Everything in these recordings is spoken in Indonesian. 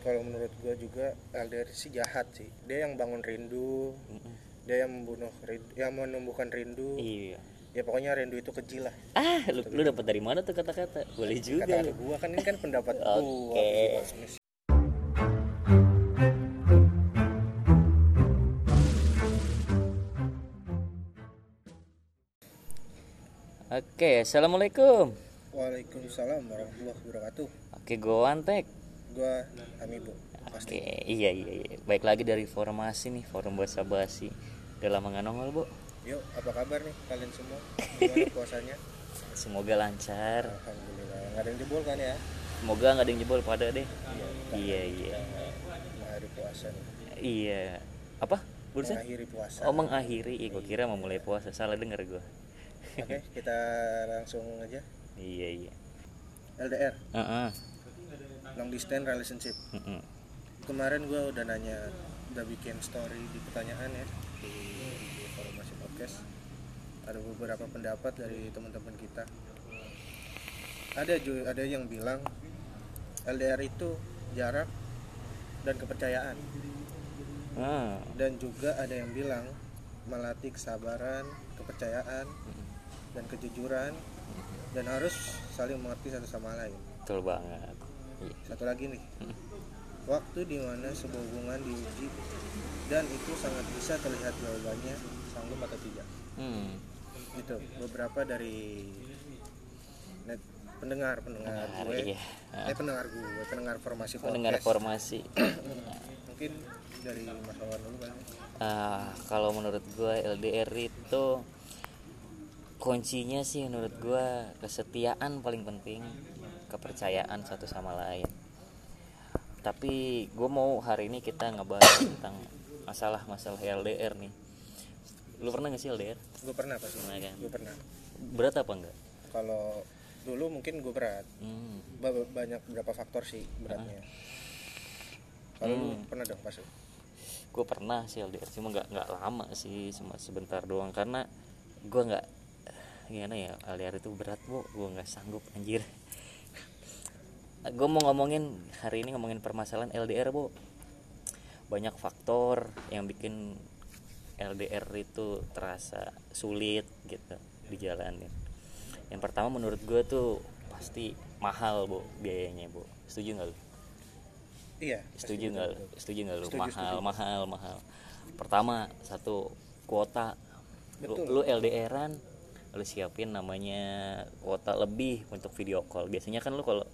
kalau menurut gua juga LDR sih jahat sih dia yang bangun rindu Mm-mm. dia yang membunuh rindu yang menumbuhkan rindu Iya. ya pokoknya rindu itu kecil lah Ah, lu, lu dapat dari mana tuh kata-kata? Boleh juga. kata lu. gua kan ini kan pendapat gua Iya. Oke. Oke, assalamualaikum. Waalaikumsalam warahmatullahi wabarakatuh Oke, go antek. gua Amibu Oke, pasti iya iya iya. Baik lagi dari formasi nih, forum bahasa basi. Udah lama nggak nongol, Bu. yuk apa kabar nih kalian semua gimana puasanya Semoga lancar. alhamdulillah nggak ada yang jebol kan ya Semoga nggak ada yang jebol pada deh. Iya iya. mengakhiri puasa nih Iya. Apa? Bursa? mengakhiri puasa Oh, mengakhiri. Iya, gua kira mau mulai puasa. Salah denger gua. oke kita langsung aja Iya iya. LDR Heeh. long distance relationship Mm-mm. kemarin gue udah nanya udah bikin story di pertanyaan ya di, di forum masih podcast ada beberapa pendapat dari teman-teman kita ada ju- ada yang bilang LDR itu jarak dan kepercayaan Ah. dan juga ada yang bilang melatih kesabaran kepercayaan dan kejujuran dan harus saling mengerti satu sama lain Betul banget. Iya. satu lagi nih waktu di mana sebuah hubungan diuji dan itu sangat bisa terlihat jawabannya sanggup atau tidak Hmm. gitu beberapa dari net pendengar pendengar Pendengar, gue iya. eh pendengar gue pendengar formasi Mendengar podcast formasi. mungkin dari mas Wawan dulu kan Ah, kalau menurut gua LDR itu kuncinya sih menurut gua kesetiaan paling penting, kepercayaan satu sama lain. Tapi gue mau hari ini kita ngebahas tentang masalah-masalah LDR nih. Lu pernah gak sih LDR? gue pernah pasti Pernah kan? gue pernah Berat apa enggak? kalau dulu mungkin gue berat Hmm. Ba- banyak berapa faktor sih beratnya kalau lu Hmm. pernah dong pasti gue pernah sih LDR cuma nggak nggak lama sih cuma sebentar doang karena gue nggak gimana ya LDR itu berat bu gue nggak sanggup anjir gue mau ngomongin hari ini ngomongin permasalahan LDR bu banyak faktor yang bikin LDR itu terasa sulit gitu dijalanin yang pertama menurut gue tuh pasti mahal bu biayanya bu setuju nggak lu iya setuju nggak lu? setuju nggak lu Setuju, mahal mahal mahal pertama satu kuota lu, Betul. lu LDRan lu siapin namanya kuota lebih untuk video call biasanya kan lu kalau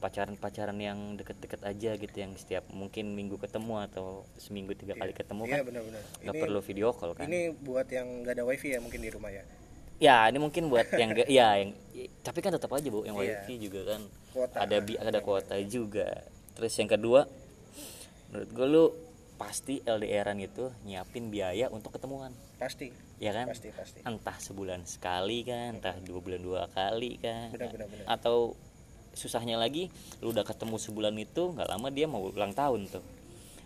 pacaran pacaran yang deket-deket aja gitu yang setiap mungkin minggu ketemu atau seminggu tiga kali ketemu iya kan benar-benar nggak Ini- perlu video call kan Ini buat yang nggak ada wifi ya mungkin di rumah ya. ya ini mungkin buat yang gak ya yang tapi kan tetap aja bu yang Iya. wifi juga kan Kuota. ada bi ada kuota juga terus yang kedua menurut gue lu pasti LDRan gitu nyiapin biaya untuk ketemuan Pasti, ya kan pasti, pasti. entah sebulan sekali kan entah dua bulan dua kali kan Benar, benar, benar. atau susahnya lagi lu udah ketemu sebulan itu nggak lama dia mau ulang tahun tuh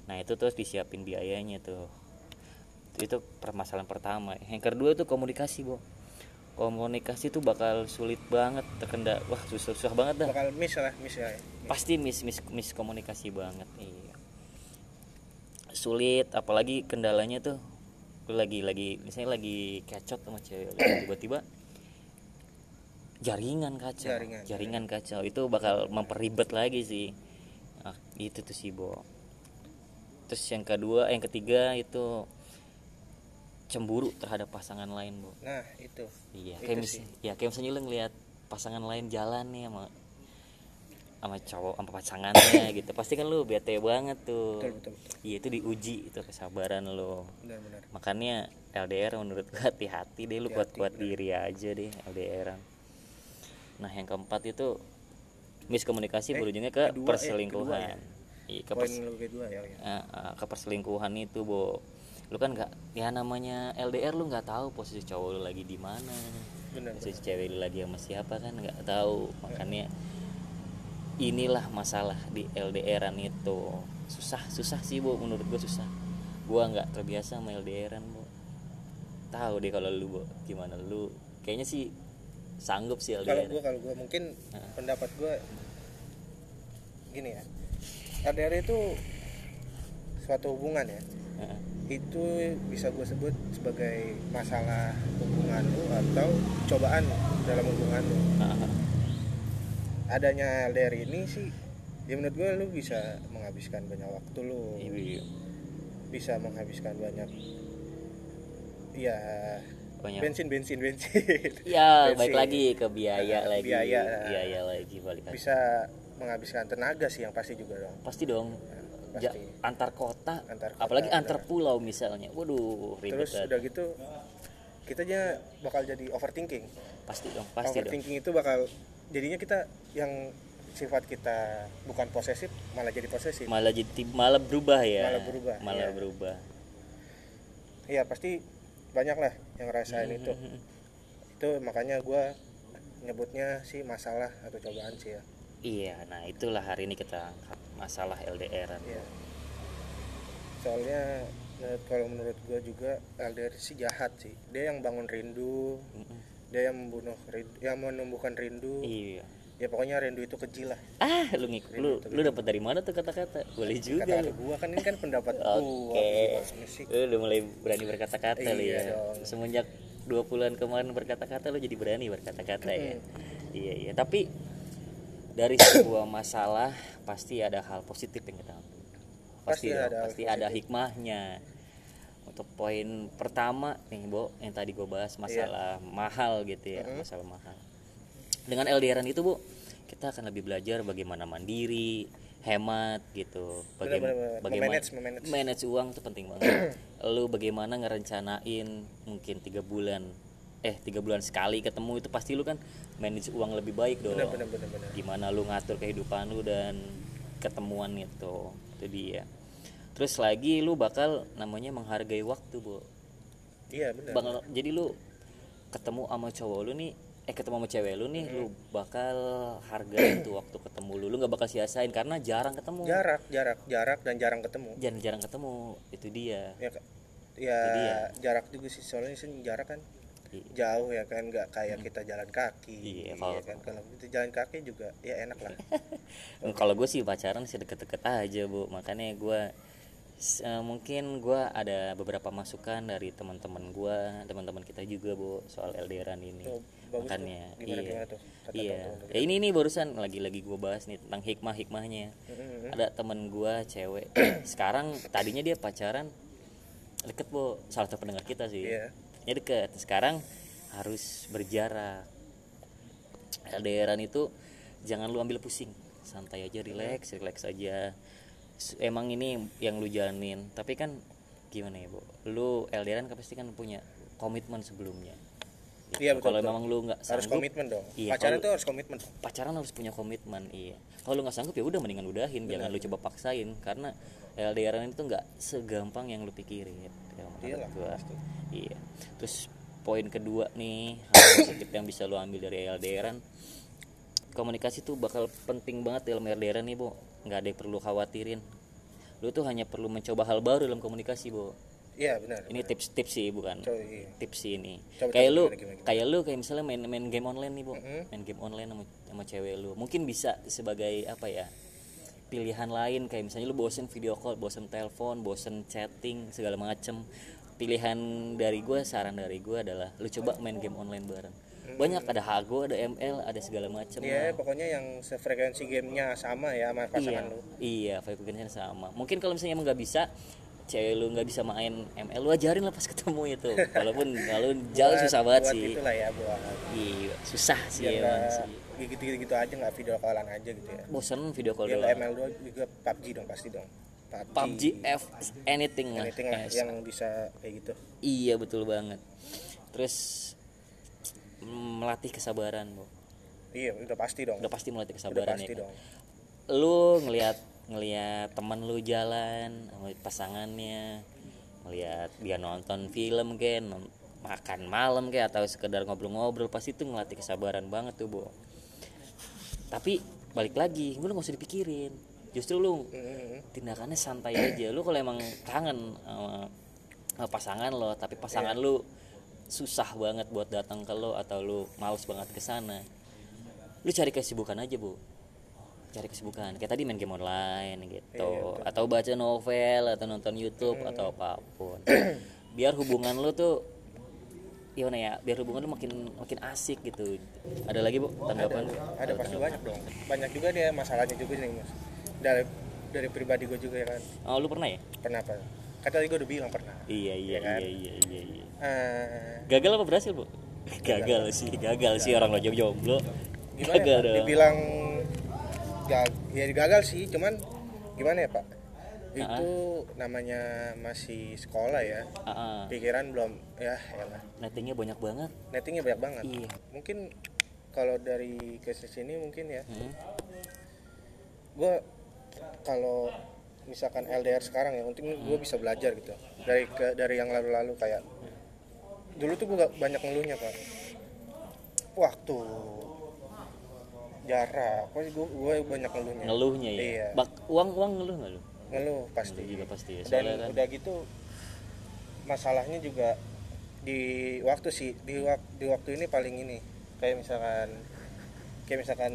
nah itu terus disiapin biayanya tuh itu permasalahan pertama yang kedua itu komunikasi bu komunikasi tuh bakal sulit banget terkendala wah susah susah banget dah Bakal miss lah, miss ya. pasti mis mis miskomunikasi banget iya sulit apalagi kendalanya tuh lu lagi lagi misalnya lagi kacot sama cewek lu, tiba-tiba jaringan kacau Jaringan, kacau itu bakal memperibet lagi sih nah, itu tuh sih bo terus yang kedua yang ketiga itu cemburu terhadap pasangan lain bu Nah, itu. Iya, Itu kayak sih. misalnya, ya kayak misalnya lu ngelihat pasangan lain jalan nih sama sama cowok sama pasangannya gitu. Pasti kan lu bete banget tuh. Betul, betul. betul. Iya, itu diuji itu kesabaran lo. Benar-benar. Makanya LDR menurut gua hati-hati deh lu kuat-kuat diri aja deh LDR. Nah, yang keempat itu miskomunikasi berujungnya ke kedua, eh, perselingkuhan. Iya, ke Poin pers- lu kedua ya. ya. eh, eh, ke perselingkuhan itu, Bo. Lu kan nggak ya namanya LDR lu nggak tahu posisi cowok lu lagi di mana Benar. si cewek lu lagi sama siapa kan nggak tahu makanya inilah masalah di LDRan itu susah susah sih bu menurut gue susah gue nggak terbiasa sama LDRan bu tahu deh kalau lu bu gimana lu kayaknya sih sanggup sih Kalau LDR gua kalau gua mungkin pendapat gua gini ya. LDR itu suatu hubungan ya Heeh. itu bisa gue sebut sebagai masalah hubungan lu atau cobaan dalam hubungan lu Heeh. adanya LDR ini sih ya menurut gue lu bisa menghabiskan banyak waktu lu Iya, iya. bisa menghabiskan banyak ya banyak bensin bensin bensin ya bensin. baik lagi ke biaya Nah, lagi biaya. biaya lagi balik lagi bisa menghabiskan tenaga sih yang pasti juga dong pasti dong pasti. Ja- antar kota Antar kota, apalagi antar benar. pulau misalnya waduh ribet terus banget. udah gitu kita aja bakal jadi overthinking pasti dong pasti dong overthinking itu bakal jadinya kita yang sifat kita bukan posesif malah jadi posesif malah jadi malah berubah ya Malah berubah, malah iya. berubah Iya pasti banyak lah yang ngerasain Hmm, itu itu makanya gua nyebutnya sih masalah atau cobaan sih ya iya nah itulah hari ini kita angkat masalah LDR Iya. soalnya menurut- kalau menurut gua juga LDR sih jahat sih dia yang bangun rindu dia yang membunuh rindu, yang menumbuhkan rindu iya ya pokoknya rindu itu kecil lah ah lu ngik lu lu dapat dari mana tuh kata-kata boleh juga kata lu gua kan ini kan pendapat gua Iya. Oke. bebas musik Lu udah mulai berani berkata-kata lu Iya ya. dong. Semenjak dua bulan kemarin berkata-kata lu jadi berani berkata-kata ya. Iya iya. Tapi dari sebuah masalah pasti ada hal positif yang kita ambil. Pasti ada dong, hal pasti ada hikmahnya. Untuk poin pertama nih Bo, yang tadi gue Iya. bahas masalah mahal gitu ya, masalah mahal. Dengan LDRan itu Bu, kita akan lebih belajar bagaimana mandiri, hemat gitu. Bagaim- Benar-benar, bagaimana memanage, memanage. manage uang itu penting banget. lu bagaimana ngerencanain mungkin tiga bulan eh tiga bulan sekali ketemu itu pasti lu kan manage uang lebih baik dong. bener bener bener bener Gimana lu ngatur kehidupan lu dan ketemuan itu. Itu dia. Terus lagi lu bakal namanya menghargai waktu, Bu. iya bener Bakal- jadi lu ketemu sama cowok lu nih eh ketemu sama cewek lu nih lu bakal hargain tuh waktu ketemu lu lu nggak bakal sia-siain karena jarang ketemu jarak jarak jarak dan jarang ketemu jarang jarang ketemu itu dia ya Kak. ya dia. jarak juga sih soalnya sih jarak kan I- jauh ya kan nggak kayak kita jalan kaki Hmm. Iya, ya kalau- kan kalau kita jalan kaki juga ya enak lah Eh, kalau gue sih pacaran sih deket-deket aja bu makanya gue mungkin gue ada beberapa masukan dari teman-teman gue teman-teman kita juga bu soal LDRan ini Tuh, Oh, bagus tuh. makanya Gimana, iya gimana tuh? Kata-kata iya teman-teman. Ya, ini ini barusan lagi-lagi gue bahas nih tentang hikmah-hikmahnya Mm-mm. ada temen gue cewek sekarang tadinya dia pacaran deket bu salah satu pendengar kita sih Iya. ya deket sekarang harus berjarak LDRan itu jangan lu ambil pusing santai aja relax Iya. relax aja S- emang ini yang lu jalanin tapi kan gimana ya bu lu LDRan kan pasti kan punya komitmen sebelumnya Gitu. Iya, betul, kalau betul. memang lu nggak harus sanggup komitmen dong Iya, pacaran kalau- tuh harus komitmen pacaran harus punya komitmen iya kalau lu nggak sanggup ya udah mendingan udahin jangan lu coba paksain karena LDRan itu nggak segampang yang lu pikirin ya, menurut Iyalah, gua. pasti. iya terus poin kedua nih hal positif yang bisa lu ambil dari LDRan komunikasi tuh bakal penting banget dalam LDRan nih bu nggak ada yang perlu khawatirin lu tuh hanya perlu mencoba hal baru dalam komunikasi bu iya benar ini tips-tips sih bukan Coba, iya. tips sih ini Coba, coba, kayak lu gimana, gimana, gimana? Mm-hmm. kayak lu kayak misalnya main main game online nih bu main game online sama, sama cewek lu mungkin bisa sebagai apa ya pilihan lain kayak misalnya lu bosen video call bosen telepon bosen chatting segala macem pilihan dari gua saran dari gua adalah lu coba main game online bareng banyak ada hago ada ml ada segala macem Mm-hmm. Iya, lah. pokoknya yang sefrekuensi gamenya sama ya sama pasangan lu Iya, frekuensinya sama. Mungkin kalau misalnya emang nggak bisa, cewek lu nggak bisa main ML, lu ajarin lah pas ketemu itu. Walaupun kalau jauh Buat- Ya, susah banget buat sih. itulah ya buat Iya, susah sih biar emang nggak sih. gitu gitu aja nggak video callan aja gitu ya Bosan video call biar nggak doang. ML2 juga PUBG dong pasti dong PUBG, PUBG F anything lah. anything lah ya. Eh, yang bisa kayak gitu Iya, betul banget. Terus mm, melatih kesabaran, Bu. iya udah pasti dong Udah pasti melatih kesabaran pasti ya. kan? dong lu ngelihat ngelihat temen lu jalan sama pasangannya ngelihat dia nonton film kan makan malam kayak atau sekedar ngobrol-ngobrol pasti itu ngelatih kesabaran banget tuh bu tapi balik lagi lu nggak usah dipikirin justru lu Mm-mm. Hmm? tindakannya santai aja lu kalau emang kangen sama- sama pasangan lo tapi pasangan lu susah banget buat datang ke lo atau lu males banget ke sana lu cari kesibukan aja bu cari kesibukan kayak tadi main game online gitu Iya, betul. atau baca novel atau nonton YouTube atau apapun biar hubungan lu tuh gimana ya biar hubungan lu makin makin asik gitu ada lagi bu tanggapan ada Atau pasti tanggapan? banyak dong banyak juga dia masalahnya juga nih mas dari dari pribadi gue juga ya kan oh lu pernah ya pernah apa kata tadi gue udah bilang pernah iya iya Iya kan? iya iya iya, iya. Eh, gagal apa berhasil bu gagal sih gagal sih orang lo jomblo gimana gagal ya, Pak? dong dibilang gag- ya gagal sih cuman gimana ya Ah. pak itu namanya masih sekolah ya Ah, ah. pikiran belum ya elah nettingnya banyak banget nettingnya banyak banget Iya. mungkin kalau dari kasus ini mungkin ya Hmm. gue kalau misalkan LDR sekarang ya mungkin gue bisa belajar gitu dari ke, dari yang lalu-lalu kayak dulu tuh gue banyak ngeluhnya pak waktu jarak pokoknya gue gue banyak ngeluhnya ngeluhnya ya Iya. Bak- uang uang ngeluh nggak lu ngeluh pasti Ngeluh juga pasti ya, dan soalnya kan- udah gitu masalahnya juga di waktu sih di waktu di waktu ini paling ini kayak misalkan kayak misalkan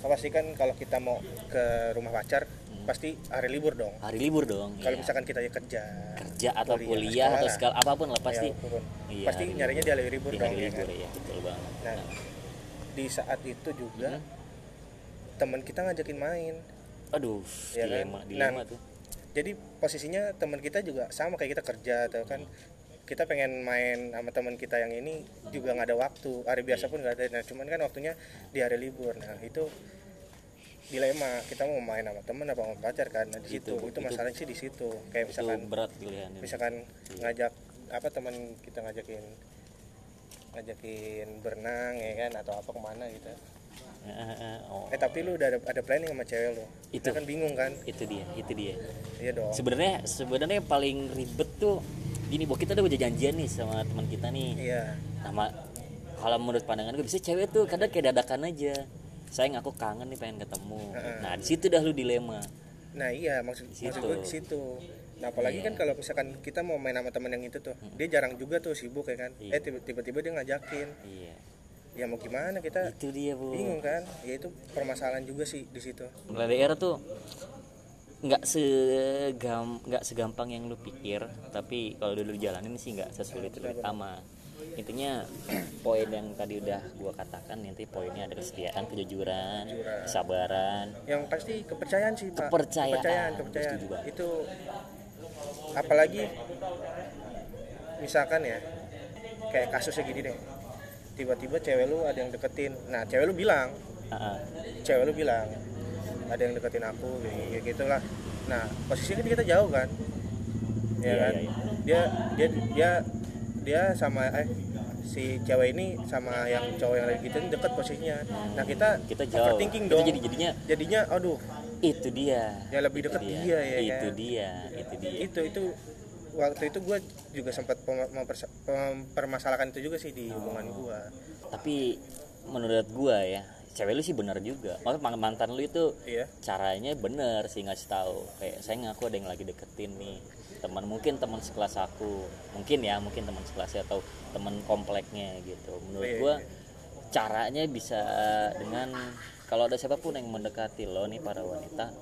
kalau pasti kan kalau kita mau ke rumah pacar pasti hari libur dong hari libur dong kalau Hmm. iya. misalkan kita kerja kerja atau kuliah, kuliah atau sekolah. segala apapun lah pasti ya, apapun. Iya, pasti hari nyarinya di hari libur di dong hari ya libur kan? ya betul banget nah di saat itu juga Hmm. teman kita ngajakin main aduh Iya kan? dilema dilema Nah, tuh jadi posisinya teman kita juga sama kayak kita kerja atau kan kita pengen main sama teman kita yang ini juga nggak ada waktu hari biasa pun nggak ada nah cuman kan waktunya di hari libur nah itu dilema kita mau main sama teman apa mau pacar kan nah, di situ Gitu, Itu- itu itu- masalahnya sih di situ kayak itu misalkan berat pilihannya misalkan ngajak apa teman kita ngajakin ngajakin berenang ya kan atau apa kemana gitu Eh, eh, eh, oh. eh tapi lu udah ada, ada planning sama cewek lu Itu. Nah, kan bingung kan itu dia itu dia iya dong sebenarnya sebenarnya yang paling ribet tuh gini bu kita udah udah janjian nih sama teman kita nih iya sama kalau menurut pandangan gue bisa cewek tuh kadang kayak dadakan aja sayang aku kangen nih pengen ketemu nah di situ dah lu dilema Nah iya maksud Di maksud situ. gue di situ. Nah apalagi Iya. Hmm. kan kalau misalkan kita mau main sama teman yang itu tuh, dia jarang juga tuh sibuk ya kan. Eh Iya. tiba- tiba-tiba dia ngajakin. iya Ya mau gimana kita itu dia bu bingung kan? Ya itu permasalahan juga sih di situ. LDR tuh nggak segam nggak segampang yang lu pikir tapi kalau dulu jalanin sih nggak sesulit yang pertama intinya poin yang tadi udah gua katakan nanti poinnya ada kesetiaan kejujuran kesabaran Yang pasti kepercayaan sih Pak. Kepercayaan. kepercayaan, kepercayaan. Setuju banget. Itu apalagi misalkan ya kayak kasusnya gini deh. Tiba-tiba cewek lu ada yang deketin. Nah, cewek lu bilang, Ah, ah. cewek lu bilang ada yang deketin aku kayak gitu lah nah posisinya kan kita jauh kan ya Iya, kan iya, dia dia dia dia sama eh si cewek ini sama yang cowok yang lagi gitu deket posisinya nah kita kita jauh overthinking Kita dong jadi jadinya jadinya aduh itu dia Ya, lebih Itu deket dia ya, itu kan? dia itu dia itu itu waktu itu gue juga sempat pem- mempersa- mempermasalahkan itu juga sih di hubungan gue tapi menurut gua ya cewek lu sih bener juga maksudnya mantan lu itu iya caranya bener sih ngasih tahu kayak saya ngaku ada yang lagi deketin nih teman mungkin teman sekelas aku mungkin ya mungkin teman sekelasnya atau teman kompleknya gitu menurut Iya, gua iya. caranya bisa dengan kalau ada siapapun yang mendekati lo nih para wanita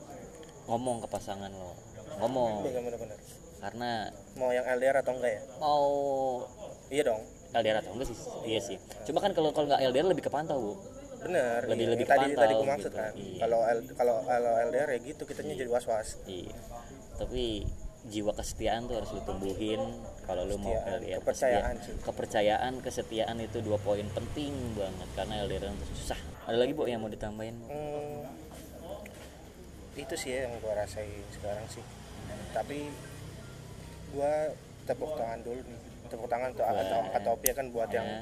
ngomong ke pasangan lo ngomong benar-benar karena mau yang LDR atau enggak ya mau iya dong LDR atau enggak sih iya sih cuma kan kalau kalau nggak LDR lebih kepantau bu benar Lebih- iya. lebih Yang tadi kepantau tadi gue maksud gitu, kan iya. kalau L- kalau kalau LDR ya gitu kitanya jadi was was Iya. Tapi jiwa kesetiaan tuh harus lu tumbuhin kalau lu mau Kesetiaan, LDR. kepercayaan Kesetia- sih. Iya. Kepercayaan, kesetiaan itu dua poin penting banget karena LDR itu susah. Ada lagi Bu yang mau ditambahin? Hmm, itu sih ya yang gue rasain sekarang sih tapi gue tepuk tangan dulu nih tepuk tangan tuh Buat- atau angkat topi ya kan buat yang Ya.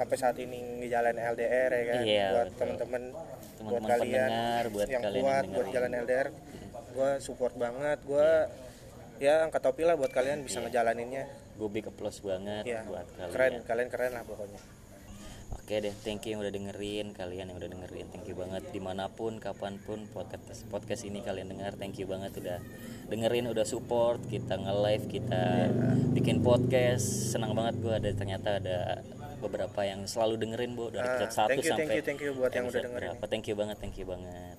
sampai saat ini ngejalan LDR ya kan Iya, buat betul. teman-teman buat Teman-teman kalian pendengar, buat yang kalian yang kuat buat dengerin. Iya. jalan LDR gue support banget gue Iya. ya angkat topi lah buat kalian bisa ngejalaninnya Gue big applause banget ya buat kalian. keren kalian keren lah pokoknya Oke deh, thank you yang udah dengerin, kalian yang udah dengerin, thank you banget dimanapun, kapanpun podcast podcast ini kalian dengar, thank you banget udah dengerin, udah support kita nge live, kita Iya. bikin podcast, senang banget gue ada ternyata ada beberapa yang selalu dengerin bu dari Ah, episode 1 thank you, sampai thank you, thank you buat yang udah episode dengerin. berapa. Thank you banget, thank you banget.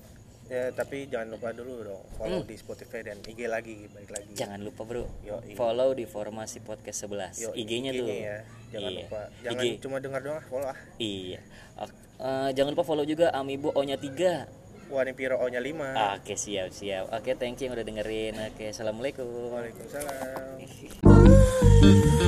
Ya, tapi jangan lupa dulu dong Hmm. follow di Spotify dan IG lagi, baik lagi. jangan lupa bro Yoi. follow di formasi podcast 11 Yo, IG-nya tuh ya. Jangan Iya. lupa. Jangan IG. cuma dengar doang, follow ah. iya Ok- eh, jangan lupa follow juga Amiibo O nya 3 Wani Piro O-nya 5. Oke siap siap Oke thank you yang udah dengerin Oke assalamualaikum Waalaikumsalam.